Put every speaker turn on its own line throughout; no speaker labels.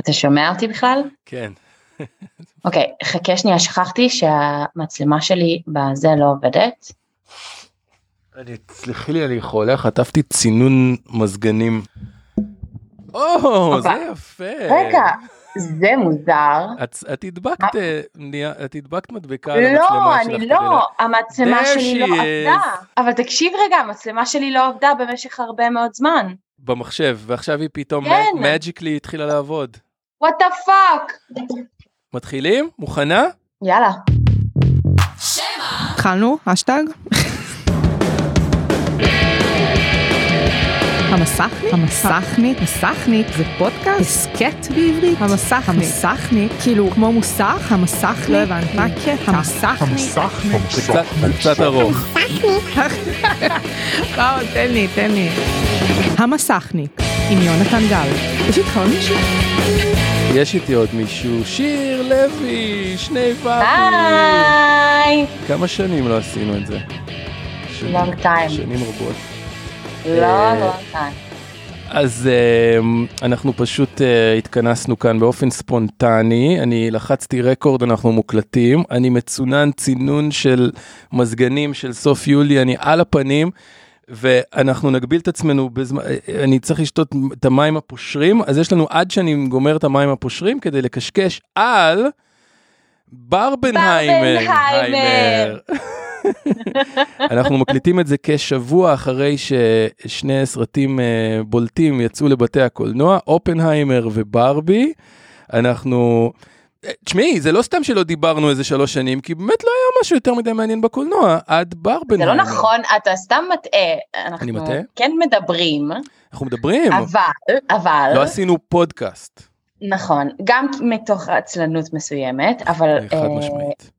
אתה שומע אותי בכלל?
כן.
אוקיי, חכה שנייה, שכחתי שהמצלמה שלי בזה לא עובדת.
אני, סלחי לי, אני חולה, חטפתי צינון מזגנים. או, זה יפה.
רגע, זה מוזר.
את, את הדבקת, נהיה- את הדבקת מדבקה על
לא,
המצלמה שלך.
אני
כדי לה-
לא, המצלמה
There
שלי לא
she
עבדה.
is.
אבל תקשיב רגע, המצלמה שלי לא עבדה במשך הרבה מאוד זמן.
במחשב, ועכשיו היא פתאום
כן.
מג'יקלי התחילה לעבוד.
וואט דה פאק.
מתחילים? מוכנה?
יאללה.
התחלנו, אשטג. המסכנית? המסכנית. מסכנית זה פודקאסט? הסכת בעברית? המסכנית. המסכנית. כאילו, כמו מוסך? המסכנית? לא הבנתי. מה הקטע? המסכנית.
זה קצת, זה קצת ארוך.
וואו, לא, תן לי, תן לי. המסכניק, עם יונתן גל. יש איתך עוד מישהו?
יש איתי עוד מישהו, שיר לוי, שני ואבים.
היי.
כמה שנים לא עשינו את זה? שנים-
Long time.
שנים רבות. אה.
לא, לא, לא.
אז אמ, אנחנו פשוט אה, התכנסנו כאן באופן ספונטני, אני לחצתי רקורד, אנחנו מוקלטים, אני מצונן צינון של מזגנים של סוף יולי, אני על הפנים, ואנחנו נגביל את עצמנו בזמן, אה, אני צריך לשתות את המים הפושרים, אז יש לנו עד שאני גומר את המים הפושרים כדי לקשקש על ברבנהיימר.
ברבנהיימר.
אנחנו מקליטים את זה כשבוע אחרי ששני סרטים אה, בולטים יצאו לבתי הקולנוע, אופנהיימר וברבי. אנחנו... אה, תשמעי, זה לא סתם שלא דיברנו איזה שלוש שנים, כי באמת לא היה משהו יותר מדי מעניין בקולנוע, עד
זה
ברבנהיימר.
לא נכון, אתה סתם מטעה. אנחנו
אני מטעה?
כן מדברים,
אנחנו מדברים,
אבל, אבל,
לא עשינו פודקאסט,
נכון, גם מתוך עצלנות מסוימת, אבל
אה, חד
אה,
משמעית.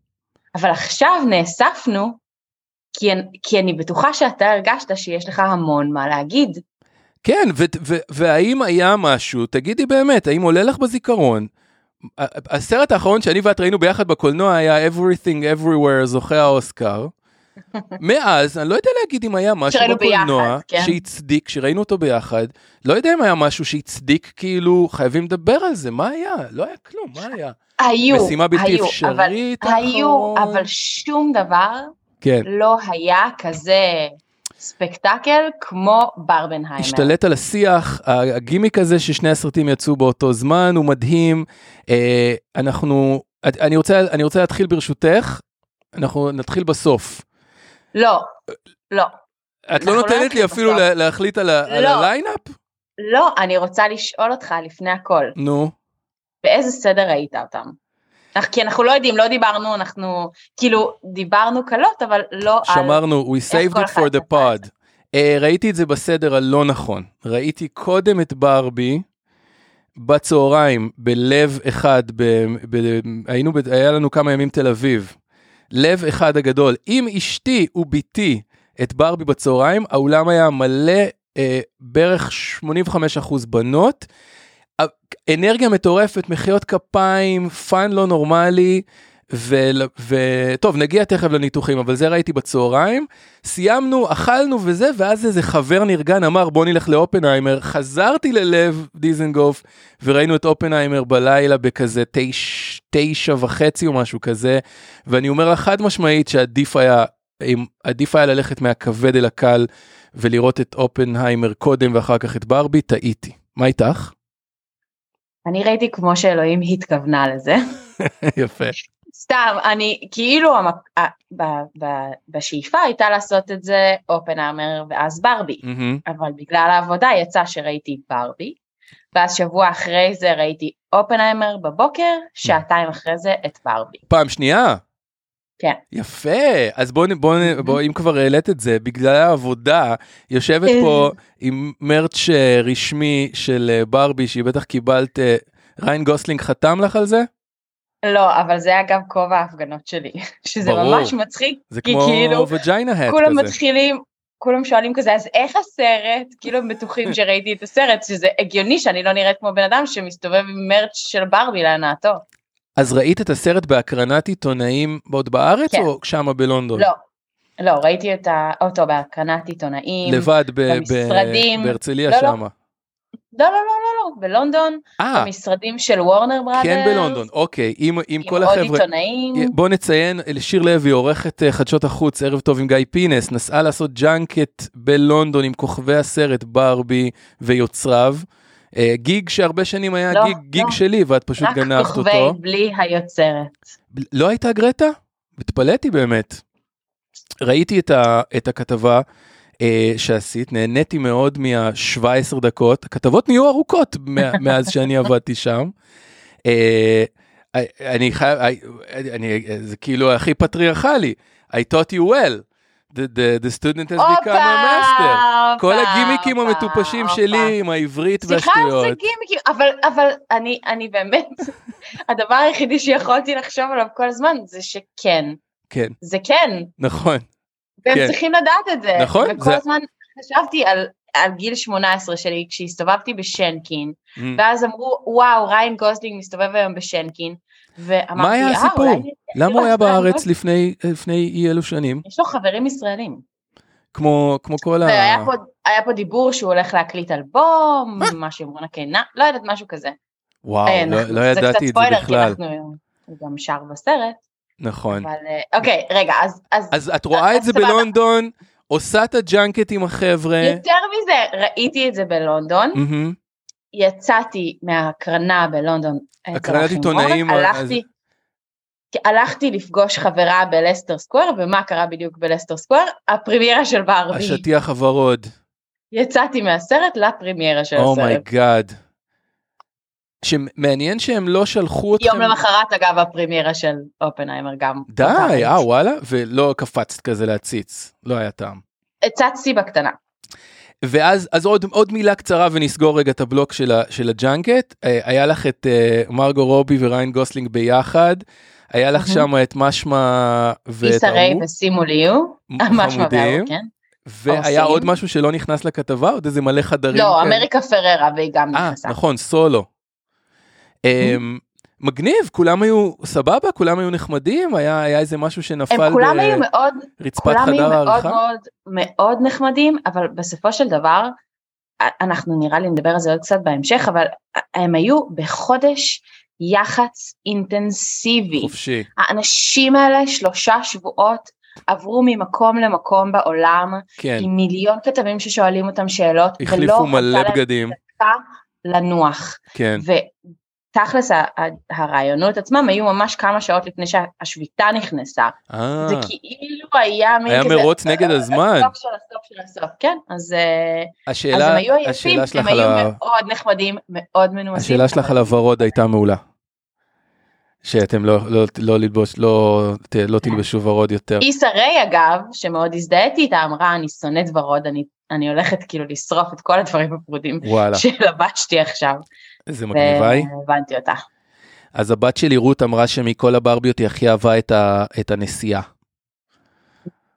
אבל עכשיו נאספנו, כי, כי אני בטוחה שאתה הרגשת שיש לך המון מה להגיד.
כן, ו- ו- והאם היה משהו, תגידי באמת, האם עולה לך בזיכרון? ה- הסרט האחרון שאני ואת ראינו ביחד בקולנוע היה Everything Everywhere זוכה האוסקר. מאז, אני לא יודע להגיד אם היה משהו
שראינו
בקולנוע
ביחד, כן.
שהצדיק, שראינו אותו ביחד, לא יודע אם היה משהו שהצדיק כאילו, חייבים לדבר על זה, מה היה? לא היה כלום, מה היה?
היו,
משימה בלתי
היו,
אפשרית נכון.
אבל, היו,
האחרון.
אבל שום דבר
כן,
לא היה כזה ספקטקל כמו ברבנהיימר.
השתלט על השיח, הגימיק הזה ששני הסרטים יצאו באותו זמן, הוא מדהים. אה, אנחנו, אני רוצה, אני רוצה להתחיל ברשותך, אנחנו נתחיל בסוף.
לא, לא.
את לא
אנחנו לא
נותנת לי
נתחיל
אפילו
בסוף.
לה, להחליט על, ה, על
לא.
הליינאפ?
לא, אני רוצה לשאול אותך לפני הכל,
נו,
באיזה סדר ראית אותם? אך- כי אנחנו לא יודעים, לא דיברנו, אנחנו כאילו דיברנו קלות, אבל לא על...
שמרנו, we saved
כל
it
אחד
for the
עשה את
pod. אה, ראיתי את זה בסדר הלא נכון. ראיתי קודם את ברבי. בצהריים, בלב אחד, ב, ב, היינו, ב, היה לנו כמה ימים תל אביב. לב אחד הגדול, עם אשתי ובתי את ברבי בצהריים, האולם היה מלא אה, בערך 85% בנות. אה, אנרגיה מטורפת, מחיאות כפיים, פאן לא נורמלי, וטוב, ו... טוב, נגיע תכף לניתוחים, אבל זה ראיתי בצהריים. סיימנו, אכלנו וזה, ואז איזה חבר נרגן אמר בוא נלך לאופנהיימר, חזרתי ללב דיזנגוף וראינו את אופנהיימר בלילה בכזה תש... תשע וחצי או משהו כזה, ואני אומר לך חד משמעית שעדיף היה, אם- עדיף היה ללכת מהכבד אל הקל ולראות את אופנהיימר קודם ואחר כך את ברבי, טעיתי. מה איתך?
אני ראיתי כמו שאלוהים התכוונה לזה.
יפה.
סתם, אני כאילו המק... ה- ב... ב... בשאיפה הייתה לעשות את זה אופנהיימר ואז ברבי,
מהמם.
אבל בגלל העבודה יצא שראיתי ברבי, ואז שבוע אחרי זה ראיתי אופנהיימר בבוקר, שעתיים אחרי זה את ברבי.
פעם שנייה.
כן.
יפה, אז בוא, נ- בוא, נ- בוא, אם כבר העלית את זה, בגלל העבודה, יושבת
אה.
פה עם מרץ' אה, רשמי של אה, ברבי, שהיא בטח קיבלת, אה, ריין גוסלינג חתם לך על זה?
לא, אבל זה אגב כובע ההפגנות שלי, שזה
ברור.
ממש מצחיק,
זה
כי
כמו
כאילו,
וג'יינה האט
כולם
כזה.
מתחילים, כולם שואלים כזה, אז איך הסרט? כאילו הם בטוחים שראיתי את הסרט, שזה הגיוני שאני לא נראית כמו בן אדם שמסתובב עם מרץ' של ברבי להנאתו.
אז ראית את הסרט בהקרנת עיתונאים עוד בארץ
כן.
או שמה בלונדון?
לא, לא, ראיתי את ה- אותו בהקרנת עיתונאים.
לבד ב- ב-
במשרדים.
בהרצליה
לא, לא.
שמה.
לא, לא, לא, לא, שלו בלונדון,
אה,
במשרדים של וורנר בראדרס.
כן בלונדון, אוקיי, עם, עם
אה, עם
כל
עוד
החבר'ה.
עיתונאים.
בוא נציין, שיר לוי, עורכת אה, חדשות החוץ, ערב טוב עם גיא פינס, נסעה לעשות ג'אנקט בלונדון עם כוכבי הסרט ברבי ויוצריו. אה, גיג שהרבה שנים היה
לא,
גיג, גיג
לא.
שלי ואת פשוט
רק
גנבת
כוכבי
אותו.
בלי היוצרת.
לא הייתה גרטה? התפלאתי באמת. ראיתי את, ה, את הכתבה אה, שעשית, נהניתי מאוד מה-17 דקות, הכתבות נהיו ארוכות מה, מאז שאני עבדתי שם. אה, אני חייב, I- אני, זה כאילו הכי פטריארכלי, I taught you well, the, the, the student has become a master. כל הגימיקים המטופשים שלי עם העברית
סליחה זה
והשטויות.
גימיקים, אבל, אבל אני, אני באמת, הדבר היחידי שיכולתי לחשוב עליו כל הזמן זה שכן,
כן,
זה כן,
נכון.
והם
כן.
צריכים לדעת את זה.
נכון,
וכל
זה-
הזמן חשבתי על, על גיל 18 שלי כשהסתובבתי בשנקין, ואז אמרו, וואו, ריין גוזלינג מסתובב היום בשנקין, ואמרתי,
מה היה
"אה,
הסיפור?
אולי
למה הוא היה
לא,
בארץ
לא.
לפני, אה, לפני אי אלו שנים?
יש לו חברים ישראלים.
כמו, כמו כל ה...
והיה פה, היה פה דיבור שהוא הולך להקליט אלבום, משהו עם רונה קינן, לא יודעת, משהו כזה.
וואו,
אה,
לא,
אנחנו-
לא
זה קצת
ידעתי את זה
ספוילר, כי
בכלל.
אנחנו- הוא גם שר בסרט,
נכון.
אבל אה, אוקיי, רגע, אז- אז
אז את רואה את זה
אה, סבבה.
בלונדון, עושה את הג'אנקט עם החבר'ה.
יותר מזה, ראיתי את זה בלונדון,
מהמם.
יצאתי מההקרנה בלונדון. אצל
הקרנת
אחים
עיתונאים,
רון,
אז-
הלכתי, הלכתי לפגוש חברה בלסטר סקוואר, ומה קרה בדיוק בלסטר סקוואר? הפרימיירה של ברבי.
השטיח הוורוד. Oh
יצאתי מהסרט לפרימיירה של הסרט.
אומייגאד. שמעניין שהם לא שלחו אתכם.
יום למחרת, אגב, הפרימיירה של אופנהיימר גם.
די,
אותה.
אה וואלה, ולא קפצת כזה להציץ, לא היה טעם.
הצצתי בקטנה.
ואז אז עוד, עוד מילה קצרה ונסגור רגע את הבלוק של, ה, של הג'אנקט. אה, היה לך את אה, מרגו רובי וריין גוסלינג ביחד, היה לך
מהמם.
שם את משמע ואת
פיסה ריי
ההוא,
ושימו ליהו. משהו
חמודים,
מהבהרות, אה, כן?
והיה
עושים.
עוד משהו שלא נכנס לכתבה, עוד איזה מלא חדרים.
לא,
כאלה.
אמריקה פררה, והיא גם
כן. אה,
נכנסה.
נכון, סולו. אמ, מגניב, כולם היו סבבה, כולם היו נחמדים, היה היה איזה משהו
הם
שנפל
כולם היו מאוד
ברצפת
כולם היו
חדר
מאוד
הערכה.
מאוד מאוד נחמדים, אבל בסופו של דבר, א- אנחנו נראה לי נדבר על זה עוד קצת בהמשך, אבל א- הם היו בחודש יח"צ אינטנסיבי.
חופשי.
האנשים האלה שלושה שבועות עברו ממקום למקום בעולם,
כן,
עם מיליון כתבים ששואלים אותם שאלות,
החליפו מלא
הייתה להם
בגדים,
דקה לנוח.
כן.
ותכלס ה- ה- הרעיונות עצמם היו ממש כמה שעות לפני שהשביתה נכנסה.
אה,
זה כאילו היה מין
היה
כזה... אה,
מרוץ נגד הזמן.
הסוף של הסוף של הסוף, כן. אז, אה, אז
השאלה,
הם היו עייפים,
השאלה שלך
הם
על ה...
היו מאוד נחמדים, מאוד מנומסים.
השאלה שלך
אבל-
על הוורוד הייתה מעולה. שאתם לא, לא, לא ללבוש, לא, ת- לא תלבשו ורוד יותר.
איסה ריי אגב, שמאוד הזדהיתי איתה, אמרה אני שונאת ורוד, אני, אני הולכת כאילו לשרוף את כל הדברים הפרודים
וואלה,
שלבשתי עכשיו.
איזה מגניבה
אה.
היא.
והבנתי אותה.
אז הבת שלי רות אמרה שמכל הברביות היא הכי אהבה את, ה, את הנסיעה.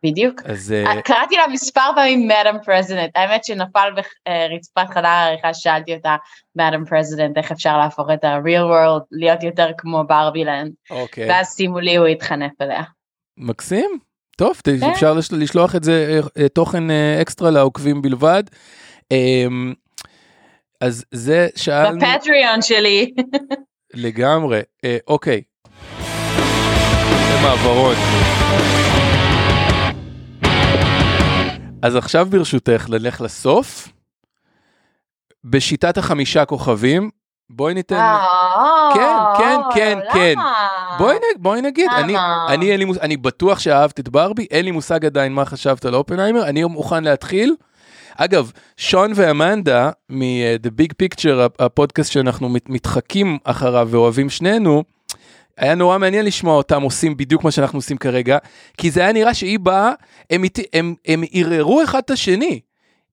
בדיוק.
אז אה,
קראתי לה מספר פעמים מאדם פרזידנט, האמת שנפל ברצפת חדר העריכה, שאלתי אותה, מאדם פרזידנט, איך אפשר להפוך את ה-real world להיות יותר כמו ברבילנד,
אוקיי,
ואז שימו לי, הוא התחנף אליה.
מקסים. טוב, ת-
כן.
אפשר לש- לשלוח את זה אה, אה, תוכן אה, אקסטרה לעוקבים בלבד. אמ, אז זה שאלנו
בפטריון שלי.
לגמרי. אה, אוקיי. זה מעברון. אז עכשיו ברשותך נלך לסוף. בשיטת החמישה כוכבים, בואי
אה.
ניתן... כן, כן, כן, כן.
למה?
בואי, נ, בואי נגיד, אני,
למה?
אני, אין לי, מוס- אני בטוח שאהבת את ברבי, אין לי מושג עדיין מה חשבת על אופנהיימר, אני מוכן להתחיל. אגב, שון ואמנדה מ-The Big Picture, הפ- הפודקאסט שאנחנו מת- מתחקים אחריו ואוהבים שנינו, היה נורא מעניין לשמוע אותם עושים בדיוק מה שאנחנו עושים כרגע, כי זה היה נראה שהיא באה, הם, איתי- הם, הם ערערו אחד את השני.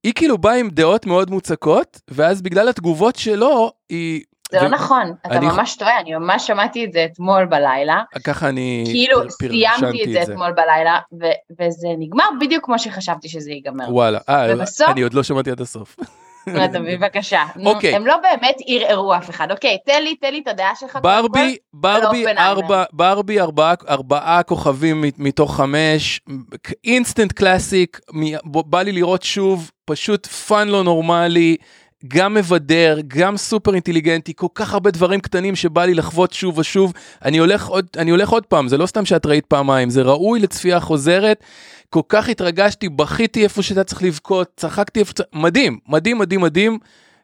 היא כאילו באה עם דעות מאוד מוצקות, ואז בגלל התגובות שלו, היא...
זה
ו-
לא נכון, אתה
אני-
ממש טועה, אני ממש שמעתי את זה אתמול בלילה.
ככה אני...
כאילו
פר- פר-
סיימתי
פרשנתי
את זה אתמול בלילה, ו- וזה נגמר בדיוק כמו שחשבתי שזה ייגמר.
וואלה, אה,
ובסוף-
אני עוד לא שמעתי עד הסוף.
אתה מבין? בבקשה. נו,
אוקיי.
הם לא באמת ערערו אף אחד. אוקיי, תן לי, תן לי את הדעה שלך. קודם
ברבי, ברבי,
אופנהיימר.
ארבע, ברבי, ארבעה, ארבעה כוכבים מת- מתוך חמש, אינסטנט קלאסיק, מ- בוא- בא לי לראות שוב, פשוט פאן לא נורמלי, גם מבדר, גם סופר אינטליגנטי, כל כך הרבה דברים קטנים שבא לי לחוות שוב ושוב. אני הולך עוד, אני הולך עוד פעם, זה לא סתם שאת ראית פעמיים, זה ראוי לצפייה חוזרת. כל כך התרגשתי, בכיתי איפה שאתה צריך לבכות, צחקתי איפה שצריך, מדהים, מדהים, מדהים, מדהים.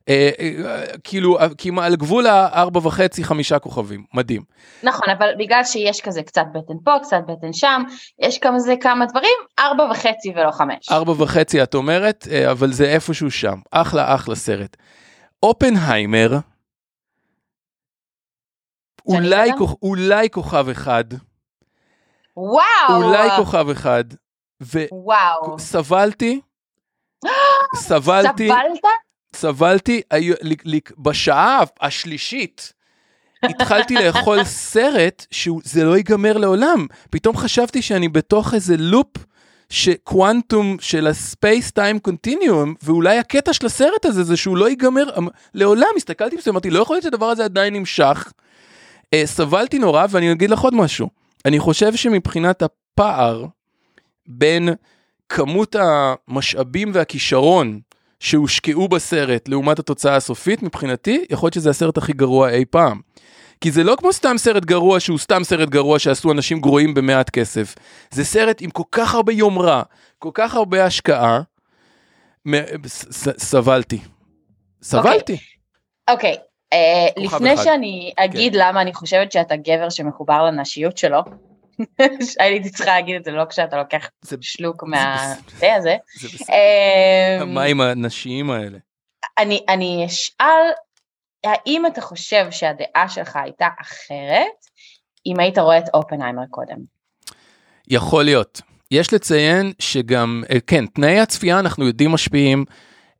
אה, אה, אה, כאילו, אה, כמעט על גבול הארבע וחצי, חמישה כוכבים, מדהים.
נכון, אבל בגלל שיש כזה קצת בטן פה, קצת בטן שם, יש כמה זה כמה דברים, ארבע וחצי ולא חמש.
ארבע וחצי את אומרת, אה, אבל זה איפשהו שם. אחלה אחלה סרט. אופנהיימר,
שאני
אולי,
אדם?
כוכ, אולי כוכב אחד,
וואו!
אולי כוכב אחד,
וואו.
וסבלתי, סבלתי,
סבלת?
סבלתי, היו- ל- ל- בשעה השלישית התחלתי לאכול סרט שזה לא ייגמר לעולם. פתאום חשבתי שאני בתוך איזה לופ שקוואנטום של הספייס טיים קונטיניום, ואולי הקטע של הסרט הזה זה שהוא לא ייגמר אמ- לעולם. הסתכלתי בזה, אמרתי, לא יכול להיות שהדבר הזה עדיין נמשך. אה, סבלתי נורא, ואני אגיד לך עוד משהו. אני חושב שמבחינת הפער בין כמות המשאבים והכישרון שהושקעו בסרט לעומת התוצאה הסופית, מבחינתי, יכול להיות שזה הסרט הכי גרוע אי פעם. כי זה לא כמו סתם סרט גרוע שהוא סתם סרט גרוע שעשו אנשים גרועים במעט כסף. זה סרט עם כל כך הרבה יומרה, כל כך הרבה השקעה. מ- ס- ס- סבלתי. סבלתי.
אוקיי, אה,
כוכב
לפני
אחד. כן.
שאני אגיד למה אני חושבת שאתה גבר שמחובר לנשיות שלו, הייתי צריכה להגיד את זה לא כשאתה לוקח
זה-
שלוק
זה-
מהתה הזה.
זה בסדר.
אה,
המים הנשיים האלה.
אני, אני אשאל, האם אתה חושב שהדעה שלך הייתה אחרת אם היית רואה את אופנהיימר קודם?
יכול להיות. יש לציין שגם, אה, כן, תנאי הצפייה אנחנו יודעים משפיעים.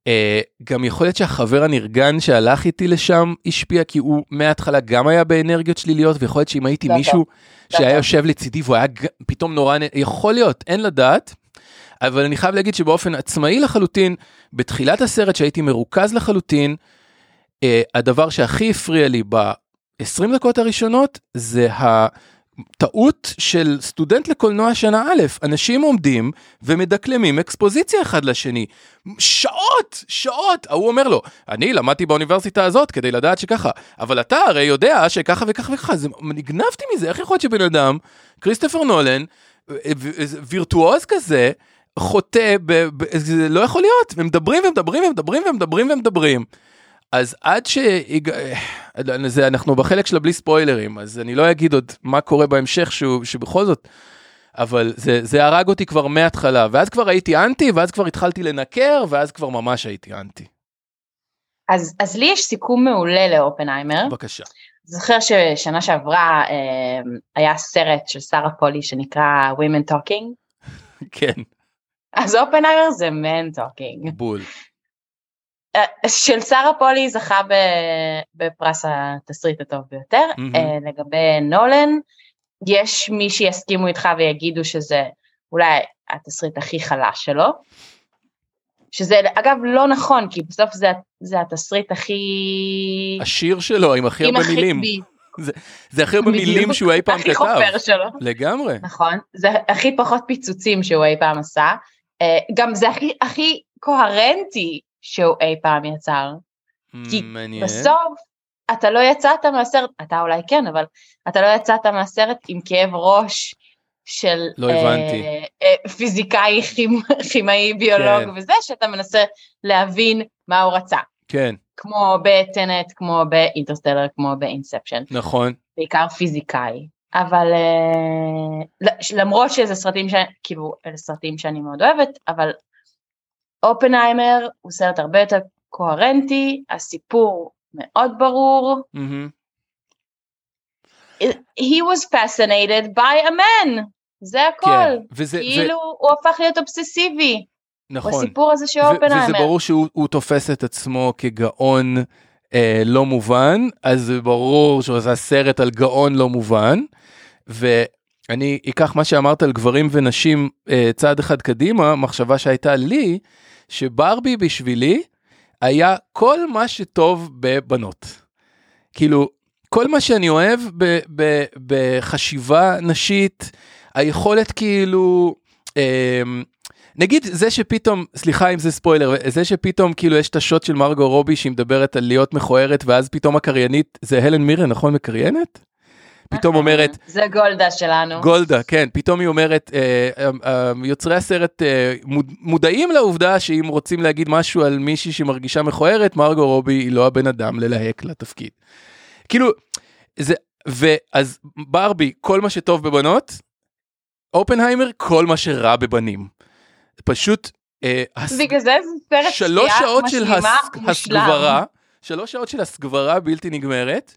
אה, גם יכול להיות שהחבר הנרגן שהלך איתי לשם השפיע, כי הוא מההתחלה גם היה באנרגיות שליליות, ויכול להיות שאם הייתי
לא
מישהו שהיה
טוב.
יושב לצידי והוא היה ג- פתאום נורא, נ- יכול להיות, אין לדעת. אבל אני חייב להגיד שבאופן עצמאי לחלוטין, בתחילת הסרט שהייתי מרוכז לחלוטין, אה, הדבר שהכי הפריע לי ב-20 דקות הראשונות זה הטעות של סטודנט לקולנוע שנה א', אנשים עומדים ומדקלמים אקספוזיציה אחד לשני. שעות, שעות. ההוא אומר לו, אני למדתי באוניברסיטה הזאת כדי לדעת שככה, אבל אתה הרי יודע שככה וככה וככה, זה, נגנבתי מזה, איך יכול להיות שבן אדם, כריסטופר נולן, ו- ו- וירטואוז כזה, חוטא, ב, ב, זה לא יכול להיות, הם מדברים ומדברים ומדברים ומדברים ומדברים. אז עד ש... אה, זה, אנחנו בחלק של הבלי ספוילרים, אז אני לא אגיד עוד מה קורה בהמשך, שהוא, שבכל זאת... אבל זה, זה הרג אותי כבר מההתחלה, ואז כבר הייתי אנטי, ואז כבר התחלתי לנקר, ואז כבר ממש הייתי אנטי.
אז, אז לי יש סיכום מעולה לאופנהיימר.
בבקשה.
זוכר ששנה שעברה אה, היה סרט של שרה פולי שנקרא Women Talking?
כן,
אז אופנהיימר זה Man Talking.
בול.
אה, של שרה פולי זכה ב- בפרס התסריט הטוב ביותר.
מהמם.
אה, לגבי נולן, יש מי שיסכימו איתך ויגידו שזה אולי התסריט הכי חלש שלו, שזה אגב לא נכון, כי בסוף זה, זה התסריט הכי...
השיר שלו עם הכי
עם
הרבה
הכי-
מילים,
ב-
זה הכי הרבה מילים
בדיוק.
שהוא אי פעם
הכי
כתב.
חופר שלו.
לגמרי.
נכון, זה הכי פחות פיצוצים שהוא אי פעם עשה, אה, גם זה הכי, הכי קוהרנטי שהוא אי פעם יצר. כי
Mm, מעניין.
בסוף אתה לא יצאת מהסרט, אתה אולי כן, אבל אתה לא יצאת מהסרט עם כאב ראש של
לא הבנתי.
אה, אה, פיזיקאי, כימ- כימאי, ביולוג
כן.
וזה, שאתה מנסה להבין מה הוא רצה,
כן,
כמו בטנט, כמו באינטרסטלר, כמו באינספשן,
נכון.
בעיקר פיזיקאי. אבל אה, ל- למרות שזה סרטים, ש... כאילו, אלה סרטים שאני מאוד אוהבת, אבל אופנהיימר הוא סרט הרבה יותר קוהרנטי, הסיפור מאוד ברור.
מהמם.
He was fascinated by a man, זה הכל.
כן. וזה, ו-
כאילו הוא הפך להיות אובססיבי,
נכון.
בסיפור הזה של
ו- וזה
אופנהיימר.
ברור שהוא הוא תופס את עצמו כגאון אה, לא מובן, אז זה ברור שהוא עשה סרט על גאון לא מובן, ואני אקח מה שאמרת על גברים ונשים אה, צעד אחד קדימה, מחשבה שהייתה לי, שברבי בשבילי היה כל מה שטוב בבנות. כאילו, כל מה שאני אוהב ב- ב- בחשיבה נשית, היכולת כאילו... אמ, נגיד זה שפתאום, סליחה אם זה ספוילר, זה שפתאום כאילו יש את השוט של מרגו רובי שהיא מדברת על להיות מכוערת ואז פתאום הקריינת, זה הלן מירן נכון מקריינת?
נכון.
פתאום אומרת,
זה גולדה שלנו.
גולדה, כן, פתאום היא אומרת, אה, אה, אה, יוצרי הסרט אה, מוד- מודעים לעובדה שאם רוצים להגיד משהו על מישהי שמרגישה מכוערת, מרגו רובי היא לא הבן אדם ללהק לתפקיד. כאילו, זה, ואז ברבי, כל מה שטוב בבנות, אופנהיימר, כל מה שרע בבנים. פשוט, אה, הס...
בגלל זה זה סרט
שלוש
צפייה
שעות של
משלימה
הס-
ומושלם.
הסגברה, שלוש שעות של הסגברה בלתי נגמרת.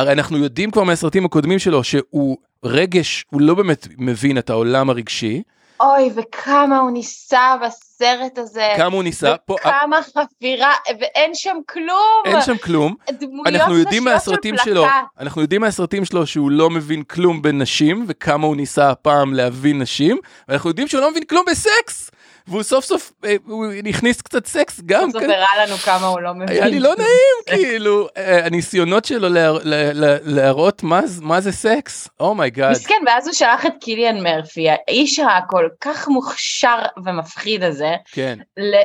הרי אנחנו יודעים כבר מהסרטים הקודמים שלו שהוא רגש, הוא לא באמת מבין את העולם הרגשי,
אוי, וכמה הוא ניסה בסרט הזה.
כמה הוא ניסה, פה אה,
כן. וכמה חפירה, ואין שם כלום.
אין שם כלום.
דמויות
אנחנו יודעים
נשיות של
מהסרטים שלו,
פלקט.
אנחנו יודעים מהסרטים שלו שהוא לא מבין כלום בנשים, וכמה הוא ניסה הפעם להבין נשים, ואנחנו יודעים שהוא לא מבין כלום בסקס, והוא סוף סוף, אה, הוא הכניס קצת סקס גם.
אז
כן.
הוא הראה לנו כמה הוא לא מבין.
היה לי לא נעים, כאילו, אה, הניסיונות שלו לה- לה- לה- להראות מה זה- מה זה סקס, Oh אומייגאד.
מסכן, ואז הוא שלח את קיליאן מרפי, האיש הכל כך מוכשר ומפחיד הזה,
כן,
ל...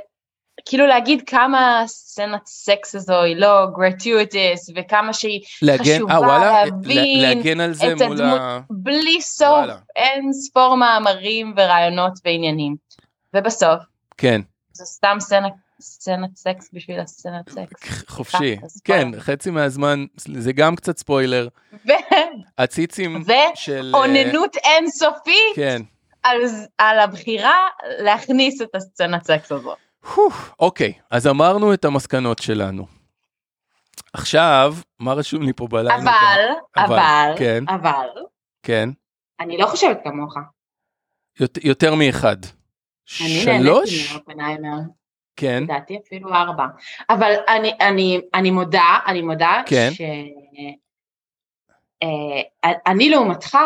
כאילו להגיד כמה סצנת סקס הזו היא לא גרטיוטיס, וכמה שהיא
להגן,
חשובה
אה וואלה,
להבין
לה- להגן על זה
את
מול ה...
בלי סוף,
וואלה.
אין ספור מאמרים ורעיונות ועניינים. ובסוף,
כן,
זו סתם סצנה, סצנת סקס בשביל הסצנת סקס.
חופשי,
אה, אז
כן,
ספוילר.
חצי מהזמן, זה גם קצת ספוילר,
ו-
הציצים של... אה,
ואוננות אינסופית
כן.
על, על הבחירה להכניס את הסצנת סקס הזו.
הו, אוקיי, אז אמרנו את המסקנות שלנו. עכשיו, מה רשום לי פה בלילה?
אבל,
אבל,
אבל,
כן.
אבל,
כן,
אני לא חושבת כמוך.
יות- יותר מאחד.
אני נהניתי
שלוש?
מאופנהיימר,
כן,
לדעתי אפילו ארבע. אבל אני, אני, אני מודה, אני מודה,
כן.
ש... אה, אני לעומתך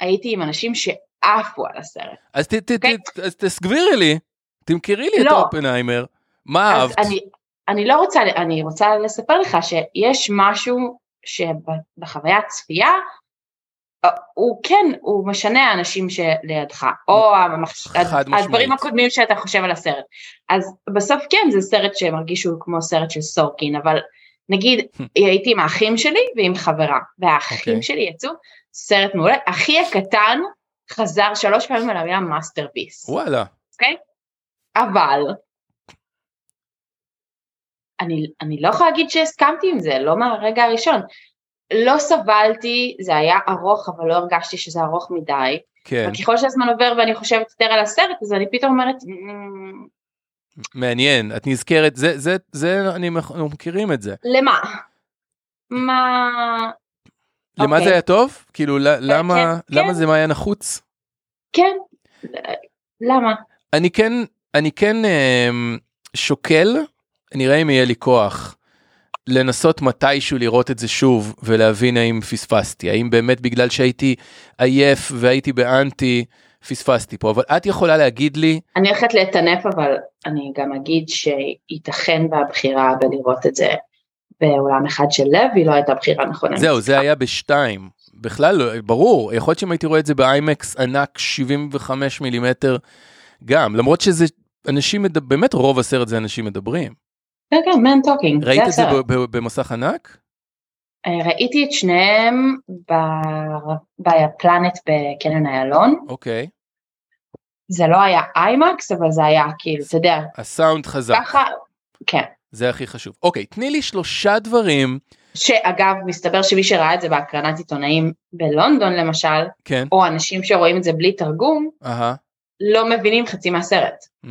הייתי עם אנשים שעפו על הסרט.
אז ת- ת-
אוקיי.
ת- אז תסגבירי לי, תמכרי לי את
לא.
אופנהיימר. מה
אז
אהבת?
אני, אני לא רוצה, אני רוצה לספר לך שיש משהו שבחוויית צפייה, אה, הוא כן, הוא משנה האנשים שלידך, או המחש...
חד משמעית.
הדברים הקודמים שאתה חושב על הסרט. אז בסוף כן, זה סרט שמרגיש שהוא כמו סרט של סורקין, אבל נגיד, הייתי עם האחים שלי ועם חברה, והאחים
אוקיי.
שלי יצאו, סרט מעולה, אחי הקטן חזר שלוש פעמים על המילה מאסטרפיס.
וואלה,
אבל אני, אני לא יכולה להגיד שהסכמתי עם זה, לא מהרגע הראשון. לא סבלתי, זה היה ארוך, אבל לא הרגשתי שזה ארוך מדי.
כן,
וככל שהזמן עובר ואני חושבת יותר על הסרט, אז אני פתאום אומרת, "מ,
מעניין, את נזכרת, זה, זה, זה, אני, מכ- אנחנו מכירים את זה.
למה? מה...
למה
אוקיי.
זה היה טוב? כאילו, ל- למה,
כן,
למה
כן.
זה מה היה נחוץ?
כן, למה?
אני כן, אני כן אמ, שוקל, נראה אם יהיה לי כוח, לנסות מתישהו לראות את זה שוב ולהבין האם פספסתי, האם באמת בגלל שהייתי עייף והייתי באנטי, פספסתי פה, אבל את יכולה להגיד לי,
אני הולכת לטנף, אבל אני גם אגיד שייתכן והבחירה בלראות את זה באולם אחד של לב, היא לא הייתה בחירה נכונה.
זהו, זה היה בשתיים. בכלל, לא, ברור, יכול להיות שאם הייתי רואה את זה באיימקס ענק 75 מילימטר גם, למרות שזה, אנשים, מדבר, באמת רוב הסרט זה אנשים מדברים.
כן, כן, man talking.
ראית את זה
הסרט.
ב- ב- במסך ענק?
אה, ראיתי את שניהם ב- בפלנט בקניון איילון.
אוקיי.
זה לא היה איימקס, אבל זה היה כאילו, אתה יודע,
הסאונד חזק.
ככה, כן.
זה הכי חשוב. אוקיי, תני לי שלושה דברים,
שאגב, מסתבר שמי שראה את זה בהקרנת עיתונאים בלונדון למשל,
כן,
או אנשים שרואים את זה בלי תרגום,
אהה,
לא מבינים חצי מהסרט.
mm,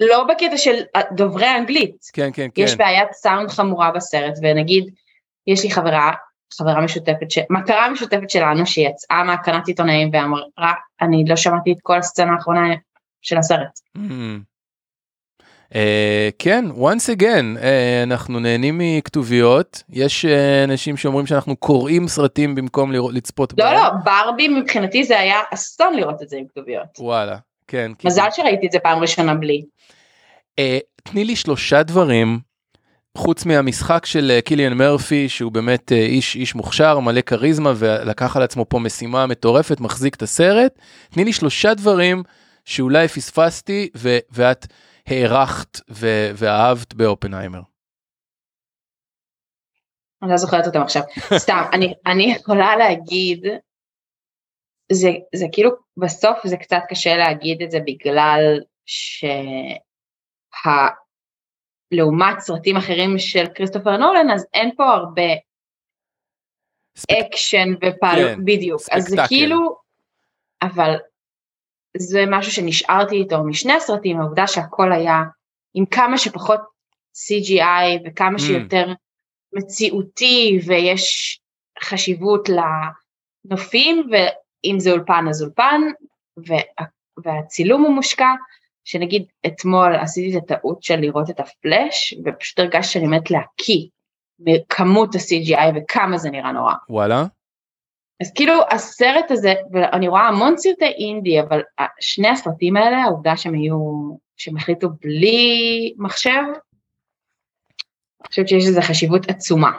לא בקטע של דוברי אנגלית,
כן, כן,
יש
כן,
בעיית סאונד חמורה בסרט, ונגיד, יש לי חברה, חברה משותפת, ש... מכרה משותפת שלנו, שיצאה מהקרנת עיתונאים ואמרה, אני לא שמעתי את כל הסצנה האחרונה של הסרט.
mm. אה, כן, once again, אה, אנחנו נהנים מכתוביות, יש אה, אנשים שאומרים שאנחנו קוראים סרטים במקום לראות- לצפות
לא,
בהם.
לא, ברבי מבחינתי זה היה אסון לראות את זה עם כתוביות.
וואלה, כן. כי-
מזל שראיתי את זה פעם ראשונה בלי.
אה, תני לי שלושה דברים, חוץ מהמשחק של אה, קיליאן מרפי, שהוא באמת אה, איש איש מוכשר, מלא כריזמה, ולקח על עצמו פה משימה מטורפת, מחזיק את הסרט. תני לי שלושה דברים שאולי פספסתי ו- ואת הערכת ו- ואהבת באופנהיימר?
אני לא זוכרת אותם עכשיו. סתם, אני, אני יכולה להגיד, זה, זה כאילו, בסוף זה קצת קשה להגיד את זה בגלל שלעומת סרטים אחרים של כריסטופר נולן, אז אין פה הרבה
ספק...
אקשן ופעל...
כן,
כן, בדיוק. אז זה
ספקטקל.
כאילו, אבל זה משהו שנשארתי איתו משני הסרטים, העובדה שהכל היה עם כמה שפחות CGI וכמה
Mm.
שיותר מציאותי ויש חשיבות לנופים, ואם זה אולפן אז אולפן, וה... והצילום הוא מושקע. שנגיד אתמול עשיתי את הטעות של לראות את הפלאש, ופשוט הרגשתי שאני מת להקיא מכמות ה-CGI וכמה זה נראה נורא.
וואלה?
אז כאילו הסרט הזה, ואני רואה המון סרטי אינדי, אבל ה- שני הסרטים האלה, העובדה שהם היו, שהם החליטו בלי מחשב, אני חושבת שיש לזה חשיבות עצומה.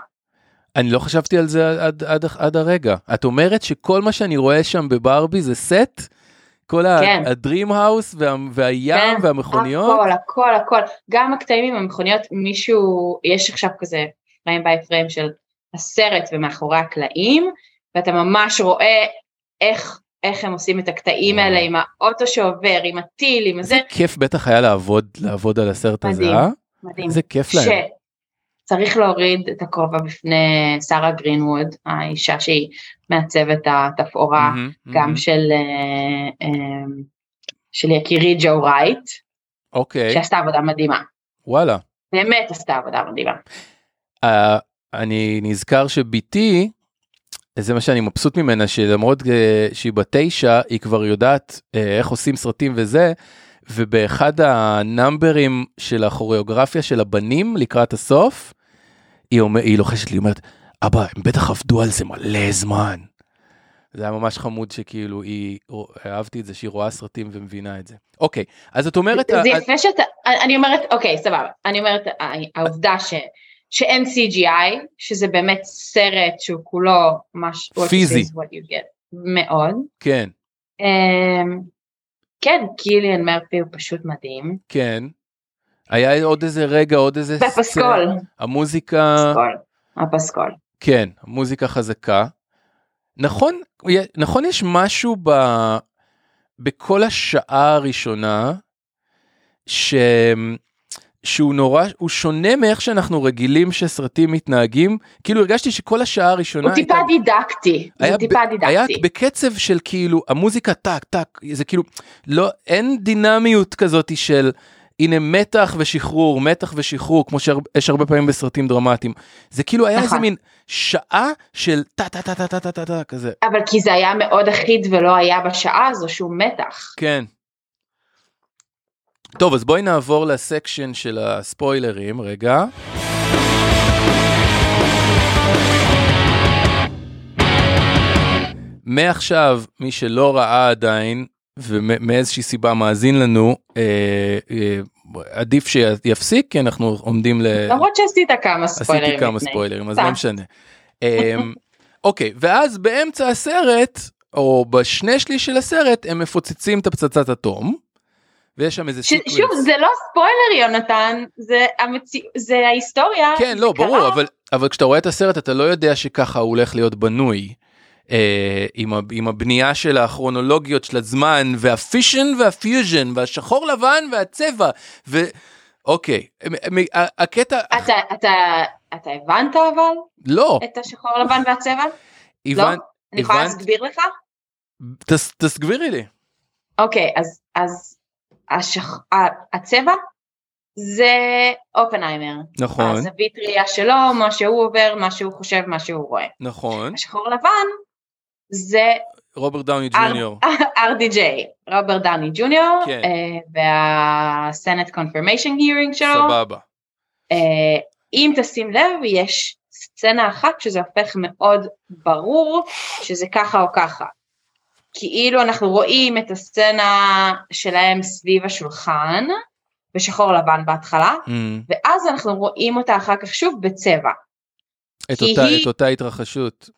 אני לא חשבתי על זה עד, עד, עד הרגע. את אומרת שכל מה שאני רואה שם בברבי זה סט? כל
כן.
הדרים האוס וה, והים
כן,
והמכוניות?
הכל, הכל, הכל. גם הקטעים עם המכוניות, מישהו, יש עכשיו כזה פריים ביי פריים של הסרט ומאחורי הקלעים, ואתה ממש רואה איך, איך הם עושים את הקטעים
וואו.
האלה עם האוטו שעובר, עם הטיל, עם
זה
זה,
כיף בטח היה לעבוד, לעבוד על הסרט הזה,
מדהים.
אה?
מדהים.
איזה כיף להם.
שצריך להוריד את הכובע בפני שרה גרינווד, האישה שהיא מעצבת התפאורה,
מהמם, מהמם.
גם של, אה, אה, של יקירי ג'ו רייט,
אוקיי,
שעשתה עבודה מדהימה.
וואלה.
באמת עשתה עבודה מדהימה.
אה, אני נזכר שבתי, זה מה שאני מבסוט ממנה, שלמרות אה, שהיא בת תשע, היא כבר יודעת אה, איך עושים סרטים וזה, ובאחד הנאמברים של הכוריאוגרפיה של הבנים לקראת הסוף, היא, אומר, היא לוחשת לי, היא אומרת, אבא, הם בטח עבדו על זה מלא זמן. זה היה ממש חמוד שכאילו היא, אהבתי את זה שהיא רואה סרטים ומבינה את זה. אוקיי, אז את אומרת,
זה
אה,
יפה שאתה, אני אומרת, אוקיי, סבבה. אני אומרת, אה, העובדה ש... שאין CGI, שזה באמת סרט שהוא כולו מש... what you see
פיזי.
is what you get. מאוד.
כן,
אמ, כן, קיליאן מרפי הוא פשוט מדהים.
כן. היה עוד איזה רגע, עוד איזה...
בפסקול.
המוזיקה,
כן. הפסקול, הפסקול.
כן, המוזיקה חזקה. נכון, נכון יש משהו ב, בכל השעה הראשונה, ש, שהוא נורא, הוא שונה מאיך שאנחנו רגילים שסרטים מתנהגים, כאילו הרגשתי שכל השעה הראשונה
הוא טיפה דידקטי,
היה
הוא טיפה
ב- היה
דידקטי.
בקצב של כאילו המוזיקה טק טק זה כאילו לא אין דינמיות כזאת של הנה מתח ושחרור מתח ושחרור כמו שיש הרבה פעמים בסרטים דרמטיים זה כאילו היה
נכון.
איזה מין שעה של טה טה טה טה טה טה טה טה כזה
אבל כי זה היה מאוד אחיד ולא היה בשעה הזו שום מתח.
כן. טוב אז בואי נעבור לסקשן של הספוילרים רגע מעכשיו, מי שלא ראה עדיין, ומאיזושהי סיבה מאזין לנו, אה, אה, עדיף שיפסיק, כי אנחנו עומדים ל...
למרות שעשית כמה ספוילרים.
כן. עשיתי כמה
לפני.
ספוילרים, אז
סתם.
לא משנה. אמ, אוקיי, ואז באמצע הסרט, או בשני שליש של הסרט, הם מפוצצים את הפצצת אטום, ויש שם איזה
ש- שוב,
סיקווינס.
זה לא ספוילר, יונתן, זה המציאו- זה ההיסטוריה.
כן,
זה
לא, ברור,
קרה.
אבל, אבל כשאתה רואה את הסרט, אתה לא יודע שככה הוא הולך להיות בנוי. אה, עם, ה, עם הבנייה של הכרונולוגיות של הזמן והפישן והפיוז'ן והשחור לבן והצבע ו... אוקיי, מ- מ- ה- הקטע,
אתה- אתה- אתה הבנת אבל
לא,
את השחור לבן והצבע? לא?
הבנת,
אני יכולה
הבנת.
להסביר לך?
תס- תסגבירי לי.
אוקיי, אז- אז השח- ה- הצבע זה אופנהיימר.
נכון,
הזווית ראייה שלו, מה שהוא עובר, מה שהוא חושב, מה שהוא רואה.
נכון.
השחור לבן זה
רוברט דאוני
אר-
ג'וניור.
RDJ, רוברט דני ג'וניור,
כן.
אה, והסנט קונפרמיישן הירינג שלו.
סבבה.
אה, אם תשים לב, יש סצנה אחת שזה הופך מאוד ברור שזה ככה או ככה. כאילו אנחנו רואים את הסצנה שלהם סביב השולחן, בשחור לבן בהתחלה,
Mm.
ואז אנחנו רואים אותה אחר כך שוב בצבע.
את
כי
אותה-
היא- אה,
את אותה התרחשות.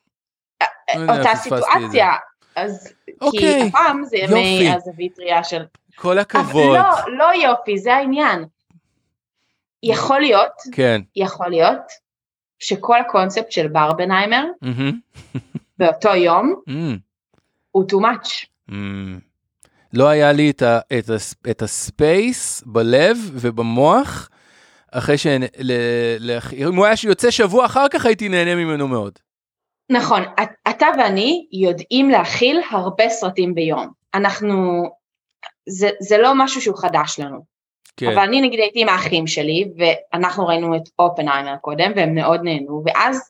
לא יודע,
אותה
פספסתי את זה.
סיטואציה. אז כי
אוקיי,
הפעם זה ימי
יופי.
הזווית ראייה של
כל
אבל
הכבוד.
לא, לא יופי, זה העניין. יכול להיות,
כן.
יכול להיות, שכל הקונספט של ברבנהיימר
מהמם.
באותו יום
מהמם.
הוא too much.
מהמם. לא היה לי את, ה, את, הס, את הספייס בלב ובמוח, אחרי ש... ל, ל, אם הוא היה יוצא שבוע אחר כך הייתי נהנה ממנו מאוד.
נכון, את- אתה ואני יודעים להכיל הרבה סרטים ביום. אנחנו, זה, זה לא משהו שהוא חדש לנו.
כן.
אבל אני נגיד הייתי עם האחים שלי, ואנחנו ראינו את אופנהיימר קודם, והם מאוד נהנו, ואז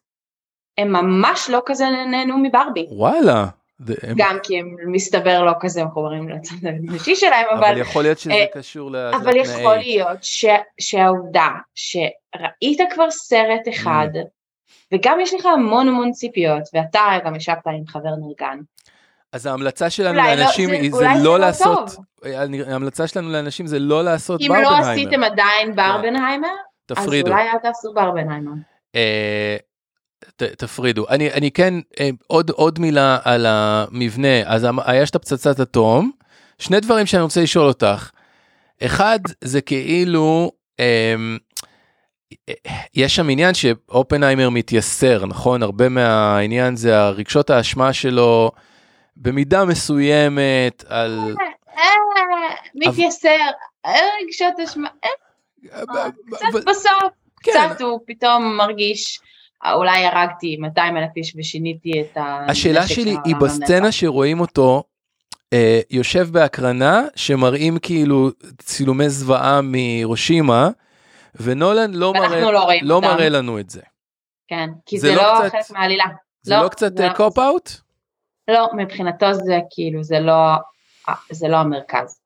הם ממש לא כזה נהנו מברבי.
וואלה. זה, הם,
גם כי הם מסתבר לא כזה מחוברים לצד הנשי שלהם,
אבל, "אוקיי."
אבל,
יכול להיות שזה
אה,
קשור ל...
אבל יכול להיות ש, שהעובדה שראית כבר סרט אחד,
Mm.
וגם יש לך המון המון ציפיות, ואתה גם ישבת עם חבר נרגן.
אז ההמלצה שלנו
אולי לא-
לאנשים
זה-
היא- זה
אולי זה
לא
לא
לעשות...
טוב.
אה, אני- ההמלצה שלנו לאנשים זה לא לעשות
אם לא
ברבנהיימר.
עשיתם עדיין ברבנהיימר, אז
תפרידו.
אולי אל תעשו ברבנהיימר.
אה, ת- תפרידו. אני, אני כן, אה, עוד, עוד מילה על המבנה. אז אמ- היה שאת פצצת אטום. שני דברים שאני רוצה לשאול אותך. אחד, זה כאילו, אה, יש שם עניין שאופנהיימר מתייסר, נכון? הרבה מהעניין זה הרגשות האשמה שלו במידה מסוימת על...
אה, מתייסר, אה, רגשות אשמה, אה,
אבל-
קצת בסוף,
כן.
קצת הוא פתאום מרגיש, "אה, אולי הרגתי 200 אלף איש ושיניתי את ה...
אה, השאלה
נשק
שלי
ה-
היא
ה-
בסצנה שרואים אותו אה, יושב בהקרנה שמראים כאילו צילומי זוועה מרושימה ונולן לא
ואנחנו
מראה,
לא רואים
לא
אותם.
מראה לנו את זה.
כן, כי
זה
זה,
לא
לא
קצת-
חלק מהעלילה.
זה
לא,
לא קצת
זה לא-
קופ אאוט?
לא, מבחינתו זה כאילו, זה לא, אה, זה לא המרכז.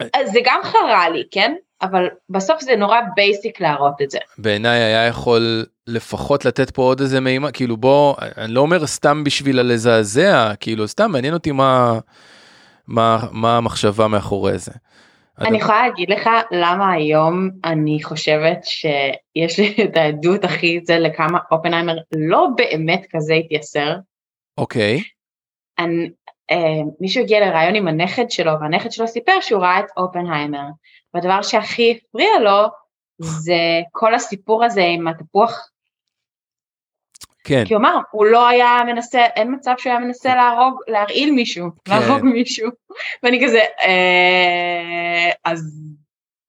אה.
אז זה גם חרה לי, כן? אבל בסוף זה נורא בייסיק להראות את זה.
בעיניי היה יכול לפחות לתת פה עוד איזה מימד, כאילו בוא, אני לא אומר סתם בשביל לזעזע, כאילו סתם מעניין אותי מה, מה, מה המחשבה מאחורי זה.
אני יכולה להגיד לך למה היום אני חושבת שיש לי את העדות הכי זה לכמה אופנהיימר לא באמת כזה התייסר.
אוקיי,
אני, אה, מישהו הגיע לראיון עם הנכד שלו, והנכד שלו סיפר שהוא ראה את אופנהיימר. והדבר שהכי הפריע לו זה כל הסיפור הזה עם התפוח,
כן,
כי הוא אמר, הוא לא היה מנסה, אין מצב שהוא היה מנסה להרוג, להרעיל מישהו,
כן.
להרוג מישהו. ואני כזה, אה, אז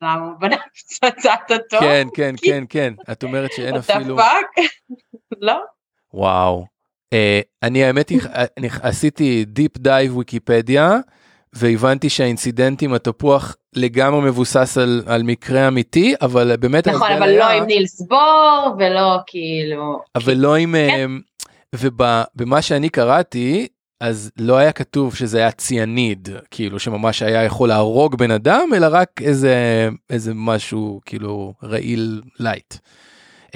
למה הוא בנה פצצת אטום?
כן, כן, כן, כן, את אומרת שאין
What the
אפילו...
fuck? לא?
וואו. אה, אני האמת היא, אני עשיתי דיפ דייב ויקיפדיה, והבנתי שהאינסידנט עם התפוח לגמרי מבוסס על, על מקרה אמיתי, אבל באמת
נכון,
ההבדל
אבל לא
היה-
עם נילס בור, ולא כאילו...
אבל לא עם...
כן.
אה, ובמה שאני קראתי, אז לא היה כתוב שזה היה ציאניד, כאילו שממש היה יכול להרוג בן אדם, אלא רק איזה, איזה משהו כאילו רעיל לייט.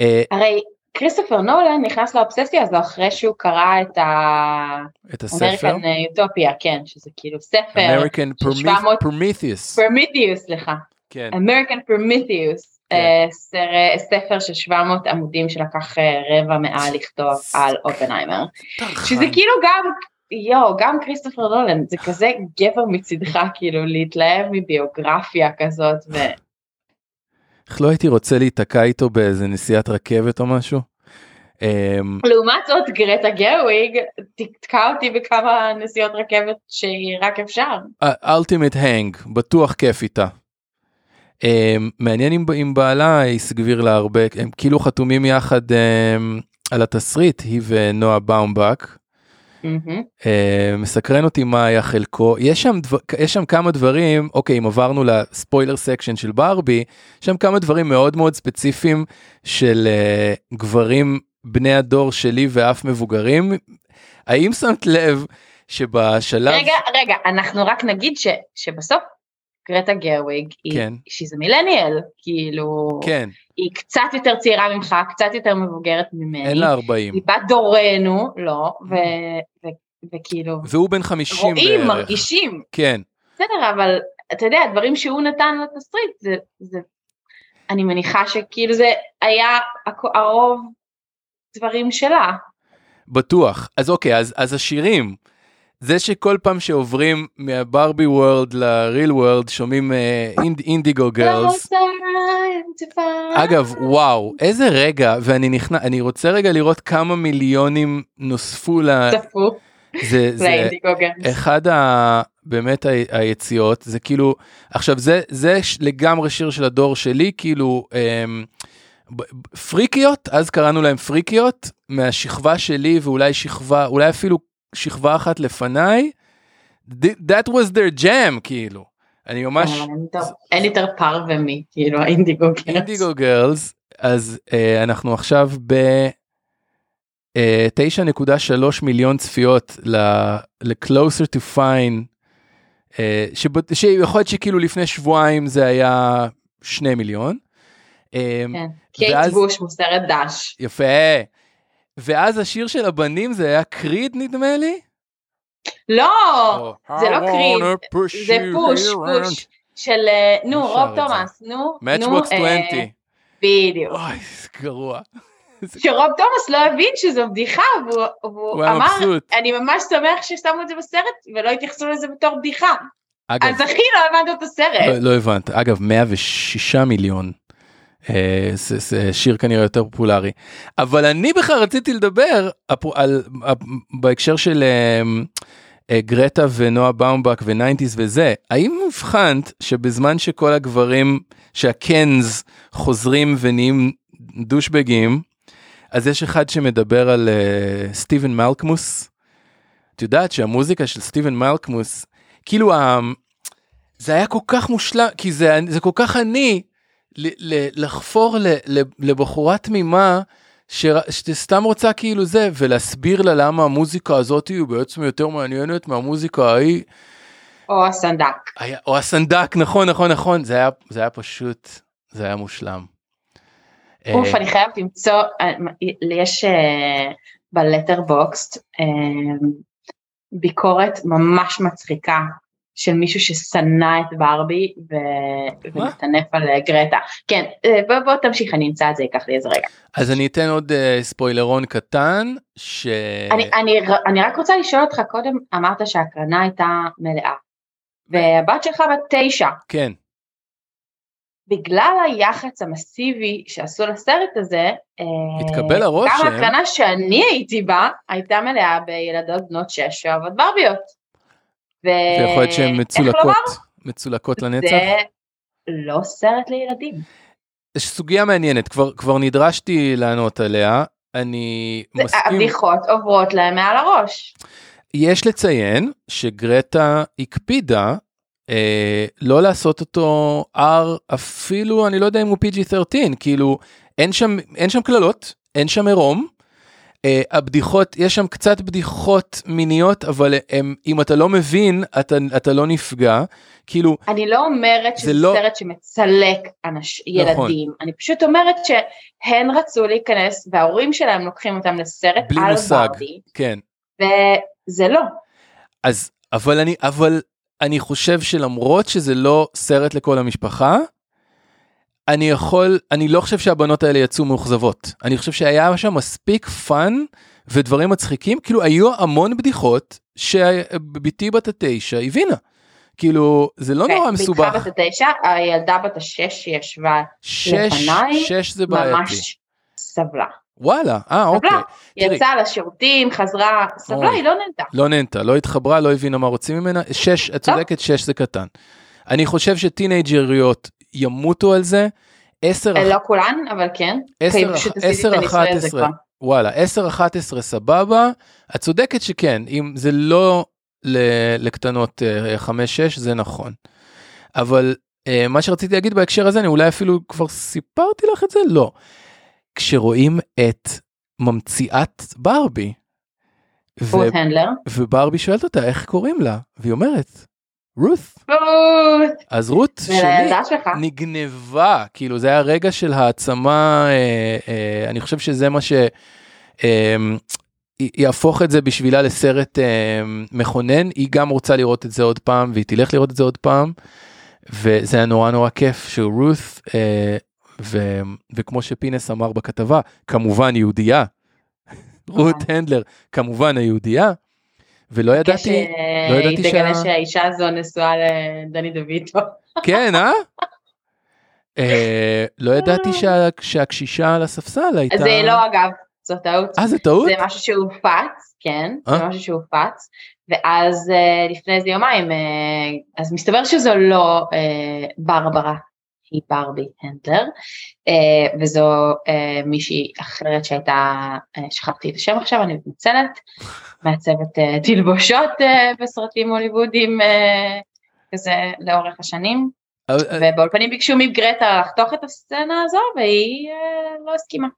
אה,
הרי כריסטופר נולן נכנס לאובססיה הזו אחרי שהוא קרא את ה-American
את הספר,
Utopia, כן, שזה כאילו ספר,
American
של 700
Prometheus,
פרמיתיוס, סליחה,
כן.
American Prometheus,
כן.
אה, סר- ספר של 700 עמודים שלקח אה, רבע מאה לכתוב על אופנהיימר, שזה
טרחן.
כאילו גם, יואו, גם כריסטופר נולן, זה כזה גבר מצידך, כאילו, להתלהב מביוגרפיה כזאת, ו...
איך לא הייתי רוצה להיתקע איתו באיזה נסיעת רכבת או משהו? אמ,
לעומת זאת, גרטה גרוויג תתקע אותי בכמה נסיעות רכבת שרק אפשר.
Ultimate Hang, בטוח כיף איתה. אמ, מעניין אם, אם בעלה הסגביר לה הרבה, הם כאילו חתומים יחד אמ, על התסריט, היא ונועה באומבק.
מהמם.
אה, מסקרן אותי מה היה חלקו יש שם דבר, יש שם כמה דברים אוקיי אם עברנו לספוילר סקשן של ברבי יש שם כמה דברים מאוד מאוד ספציפיים של אה, גברים בני הדור שלי ואף מבוגרים האם שמת לב שבשלב
רגע, רגע, אנחנו רק נגיד ש, שבסוף גרטה גרוויג היא,
כן.
שזה מילניאל, כאילו,
כן
היא קצת יותר צעירה ממך, קצת יותר מבוגרת ממני,
אין לה 40
היא בת דורנו, לא, ו, ו, וכאילו,
והוא בן 50
רואים,
בערך
מרגישים,
כן
בסדר, אבל אתה יודע, הדברים שהוא נתן לתסריט, זה, זה, אני מניחה שכאילו זה היה הכ- הרוב דברים שלה.
בטוח אז אוקיי אז אז השירים זה שכל פעם שעוברים מהברבי וורלד לריל וורלד שומעים אה, אינדיגו גרלס. אגב, וואו, איזה רגע, ואני נכנס, אני רוצה רגע לראות כמה מיליונים נוספו ל...
צפו.
אה, זה, זה
לאינדיגו גרלס.
אחד ה... באמת ה... היציאות, זה כאילו, עכשיו זה, זה ש- לגמרי שיר של הדור שלי, כאילו, אמ... ב- ב- פריקיות, אז קראנו להם פריקיות, מהשכבה שלי ואולי שכבה, אולי אפילו שכבה אחת לפניי, th- that was their jam, כאילו. אני ממש,
אבל אין יותר- אין יותר פר ומי, כאילו האינדיגו גרלס.
אינדיגו גרלס, אז אה, אנחנו עכשיו ב... אה, 9.3 מיליון צפיות ל- ל-Closer to Fine, אה, שב- שיכול להיות שכאילו לפני שבועיים זה היה 2 מיליון. אה,
כן. קייט
ואז-
בוש מוסרת דש.
יפה. ואז השיר של הבנים זה היה קריד נדמה לי?
לא!
או,
זה
I
לא קריד,
wanna push
זה
you
פוש,
Oh, around.
פוש. של, אה, נו,
מי שר
רוב
את זה?
תומאס, נו, נו,
Matchbox 20.
אה, בדיוק.
אוי, זה גרוע.
שרוב תומאס לא הבין שזו בדיחה, והוא-
הוא
והוא
היה
אמר,
מבסוט.
אני ממש שמח ששמו את זה בסרט, ולא התייחסו לזה בתור בדיחה.
אגב,
אז הכי לא הבנת את הסרט.
לא- לא הבנת. אגב, 106 מיליון. אה, זה זה שיר כנראה יותר פופולרי. אבל אני בכלל רציתי לדבר אפו- על- אפ- בהקשר של אה, אה, גרטה ונועה באומבק וניינטיז וזה. האם הבחנת שבזמן שכל הגברים, שהקנז חוזרים ונהיים דושבגים, אז יש אחד שמדבר על אה, סטיבן מלקמוס. את יודעת שהמוזיקה של סטיבן מלקמוס, כאילו ה... זה היה כל כך מושלם, כי זה, זה כל כך אני ל, ל, לחפור ל, ל, לבחורה תמימה ש, שסתם רוצה כאילו זה, ולהסביר לה למה המוזיקה הזאת היא בעצם יותר מעניינת מהמוזיקה ההיא, לא.
או הסנדק.
היה, או הסנדק, נכון, נכון, נכון, זה היה, זה היה פשוט, זה היה מושלם.
אוף,
אה,
אני חייבת למצוא, אה, יש אה, בלטרבוקסט אה, ביקורת ממש מצחיקה של מישהו ששנא את ברבי ו-
מה?
ונטנף על אה, גרטה. כן, אה, בוא, בוא תמשיך, אני אמצא את זה, ייקח לי איזה רגע.
אז אני אתן עוד אה, ספוילרון קטן, ש...
אני, אני, ר- אני רק רוצה לשאול אותך קודם, אמרת שההקרנה הייתה מלאה, והבת שלך בת תשע,
כן,
בגלל היח"צ המסיבי שעשו לסרט הזה, אה,
התקבל הרושם.
גם ההקרנה שאני הייתי בה הייתה מלאה בילדות בנות שש שאוהבות ברביות. ו...
ויכול להיות שהן
אה, איך לומר?
מצולקות, מצולקות לנצח.
זה לא סרט לילדים.
סוגיה מעניינת, כבר, כבר נדרשתי לענות עליה, אני
זה-
מסכים,
הבדיחות עוברות להם מעל הראש.
יש לציין שגרטה הקפידה אה, לא לעשות אותו R אפילו, אני לא יודע אם הוא PG-13, כאילו אין שם, אין שם קללות, אין שם עירום. אה, הבדיחות, יש שם קצת בדיחות מיניות, אבל הם, אם אתה לא מבין, אתה, אתה לא נפגע. כאילו,
אני לא אומרת
זה
שזה
לא- נכון.
סרט שמצלק אנש... ילדים, אני פשוט אומרת שהן רצו להיכנס וההורים שלהם לוקחים אותם לסרט
בלי
על
מושג.
ברבי,
כן,
וזה לא.
אז אבל אני אבל אני חושב שלמרות שזה לא סרט לכל המשפחה. אני יכול אני לא חושב שהבנות האלה יצאו מאוכזבות אני חושב שהיה שם מספיק פאן ודברים מצחיקים כאילו היו המון בדיחות שבתי בת התשע הבינה. כאילו זה לא נורא
כן, בעיקר בת
מסובך
התשע, הילדה בת השש שישבה
שש
לפניי,
שש זה בעייתי
ממש סבלה.
וואלה אה אוקיי
סבלה,
תראי.
יצאה לשירותים, חזרה, סבלה,
אוי.
היא לא נהנתה.
לא נהנתה, לא התחברה, לא הבינה מה רוצים ממנה. שש,
לא.
את צודקת, שש זה קטן. אני חושב שטינג'ריות ימותו על זה. עשר,
אה,
אח-
לא כולן, אבל כן.
עשר,
כי פשוט
אח-
עשיתי את
עשר,
הניסוי
אחת
הזה
עשרה.
כבר.
וואלה, עשר, אחת עשרה, סבבה. את צודקת שכן, אם זה לא ל- לקטנות אה, חמש, שש, זה נכון. אבל אה, מה שרציתי להגיד בהקשר הזה, אני אולי אפילו כבר סיפרתי לך את זה? לא. כשרואים את ממציאת ברבי, ו-
רות הנדלר.
וברבי שואלת אותה איך קוראים לה והיא אומרת רות
רות,
אז רות שלי
ולילדה שלך.
נגנבה כאילו זה היה רגע של העצמה אה, אה, אני חושב שזה מה שיהפוך את זה בשבילה לסרט אה, מכונן היא גם רוצה לראות את זה עוד פעם והיא תלך לראות את זה עוד פעם וזה היה נורא נורא כיף שהוא רות אה, ו, וכמו שפינס אמר בכתבה כמובן יהודייה רות הנדלר כמובן היהודייה ולא ידעתי, לא ידעתי
שהיא תגלה
שה-
שהאישה הזו נשואה לדני דויטו.
כן, אה? אה, לא ידעתי שה- שהקשישה על הספסל הייתה...
אז זה לא אגב, זו טעות.
אה, זה טעות?
זה משהו שהופץ, כן, זה
אה?
משהו שהופץ, ואז אה, לפני איזה יומיים, אה, אז מסתבר שזו לא אה, ברברה, היא ברבי הנדלר, אה, וזו אה, מישהי אחרת שהייתה, אה, שכחתי את השם עכשיו, אני מתנצלת, מעצבת אה, תלבושות אה, בסרטים הוליוודיים, אה, כזה לאורך השנים,
אה, אה,
ובאולפנים ביקשו מגרטה לחתוך את הסצנה הזו, והיא אה, לא הסכימה.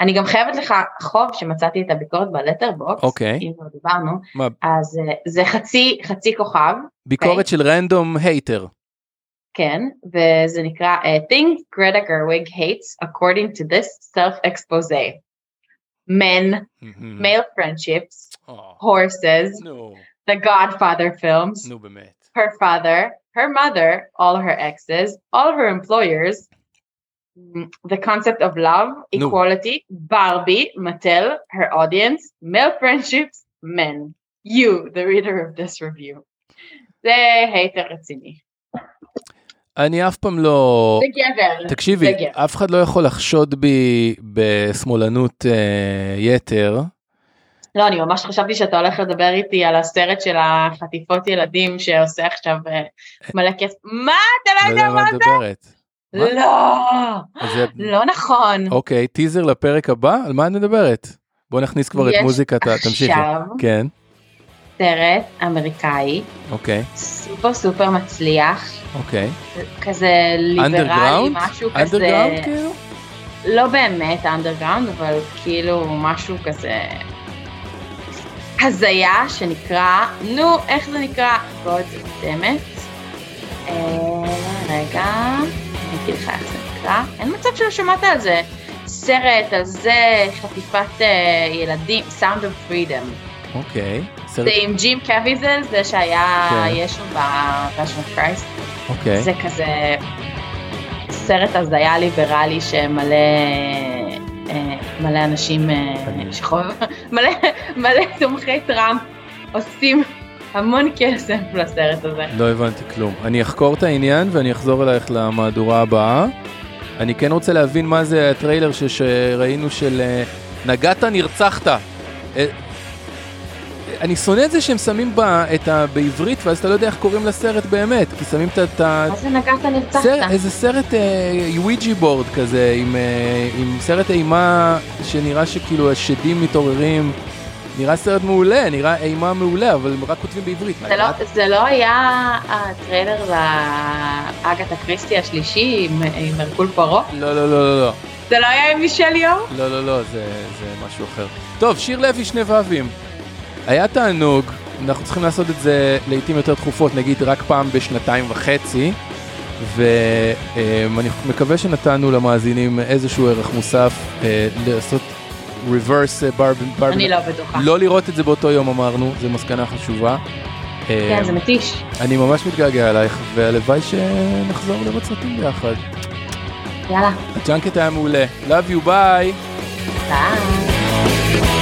אני גם חייבת לך חוב שמצאתי את הביקורת בלטרבוקס,
אוקיי.
אם כבר דיברנו,
מה,
אז אה, זה חצי, חצי כוכב,
ביקורת של רנדום הייטר.
כן, וזה נקרא אה, Things Greta Gerwig hates according to this self-expose. Men,
Mm. Mm-hmm.
male friendships,
אה,
horses,
נו,
the godfather films,
נו באמת.
her father, her mother, all her exes, all her employers, mm, the concept of love,
No.
equality, Barbie, Mattel, her audience, male friendships, men. You, the reader of this review. זה הייטר רציני.
אני אף פעם לא...
זה גבר.
תקשיבי,
זה גבר.
אף אחד לא יכול לחשוד בי בשמאלנות אה, יתר.
לא, אני ממש חשבתי שאתה הולך לדבר איתי על הסרט של החטיפות ילדים שעושה עכשיו אה, מלא כסף. מה? אתה לא
לא יודע
יודע
מה
מה?
את מדברת. מה?
לא,
אז זה-
לא נכון.
אוקיי, טיזר לפרק הבא? על מה את מדברת? בוא נכניס כבר את
יש
מוזיקת ה... תמשיכי.
עכשיו
כן,
סרט אמריקאי
אוקיי,
סופר סופר מצליח,
אוקיי.
כזה ליברלי,
אנדרגראונד?
משהו כזה,
אנדרגראונד כאילו?
לא באמת אנדרגראונד, אבל כאילו משהו כזה הזיה שנקרא, נו, איך זה נקרא? גוד דמת. אה, רגע, אני אגיד לך איך זה נקרא. אין מצב שלא שמעת על זה. סרט על זה, חטיפת אה, ילדים, Sound of Freedom.
אוקיי. סרט-
זה עם ג'ים קוויזל, זה שהיה
כן.
ישו בפאשון קרייסט.
אוקיי.
זה כזה סרט הזיה ליברלי שמלא אה, מלא אנשים
אני-
אה, שחוב... מלא, מלא תומכי טראמפ עושים המון כסף לסרט הזה.
לא הבנתי כלום. אני אחקור את העניין ואני אחזור אלייך למהדורה הבאה. אני כן רוצה להבין מה זה הטריילר ש- שראינו של אה, נגעת נרצחת. אה, אני שונא את זה שהם שמים בה את ה... בעברית ואז אתה לא יודע איך קוראים לסרט באמת, כי שמים את ה- את ה...
מה זה נגעת נרצחת?
סר, איזה סרט אה, וויג'י בורד כזה, עם, אה, עם סרט אימה שנראה שכאילו השדים מתעוררים. נראה סרט מעולה, נראה אימה מעולה, אבל הם רק כותבים בעברית.
זה לא, זה לא היה הטריילר לאגת הקריסטי השלישי עם, עם הרקול פרעה?
לא, לא, לא, לא, לא.
זה לא היה עם מישל יום?
לא, לא, לא, זה, זה משהו אחר. טוב, שיר לוי שני ואבים. היה תענוג, אנחנו צריכים לעשות את זה לעיתים יותר תכופות, נגיד רק פעם בשנתיים וחצי, ואני מקווה שנתנו למאזינים איזשהו ערך מוסף אה, לעשות reverse ברבן.
אני לא בטוחה.
לא לראות את זה באותו יום אמרנו, זו מסקנה חשובה.
כן, זה
אה,
מתיש.
אני ממש מתגעגע אלייך, והלוואי שנחזור לראות סרטים ביחד.
יאללה,
הג'אנקט היה מעולה. Love you, ביי!
ביי.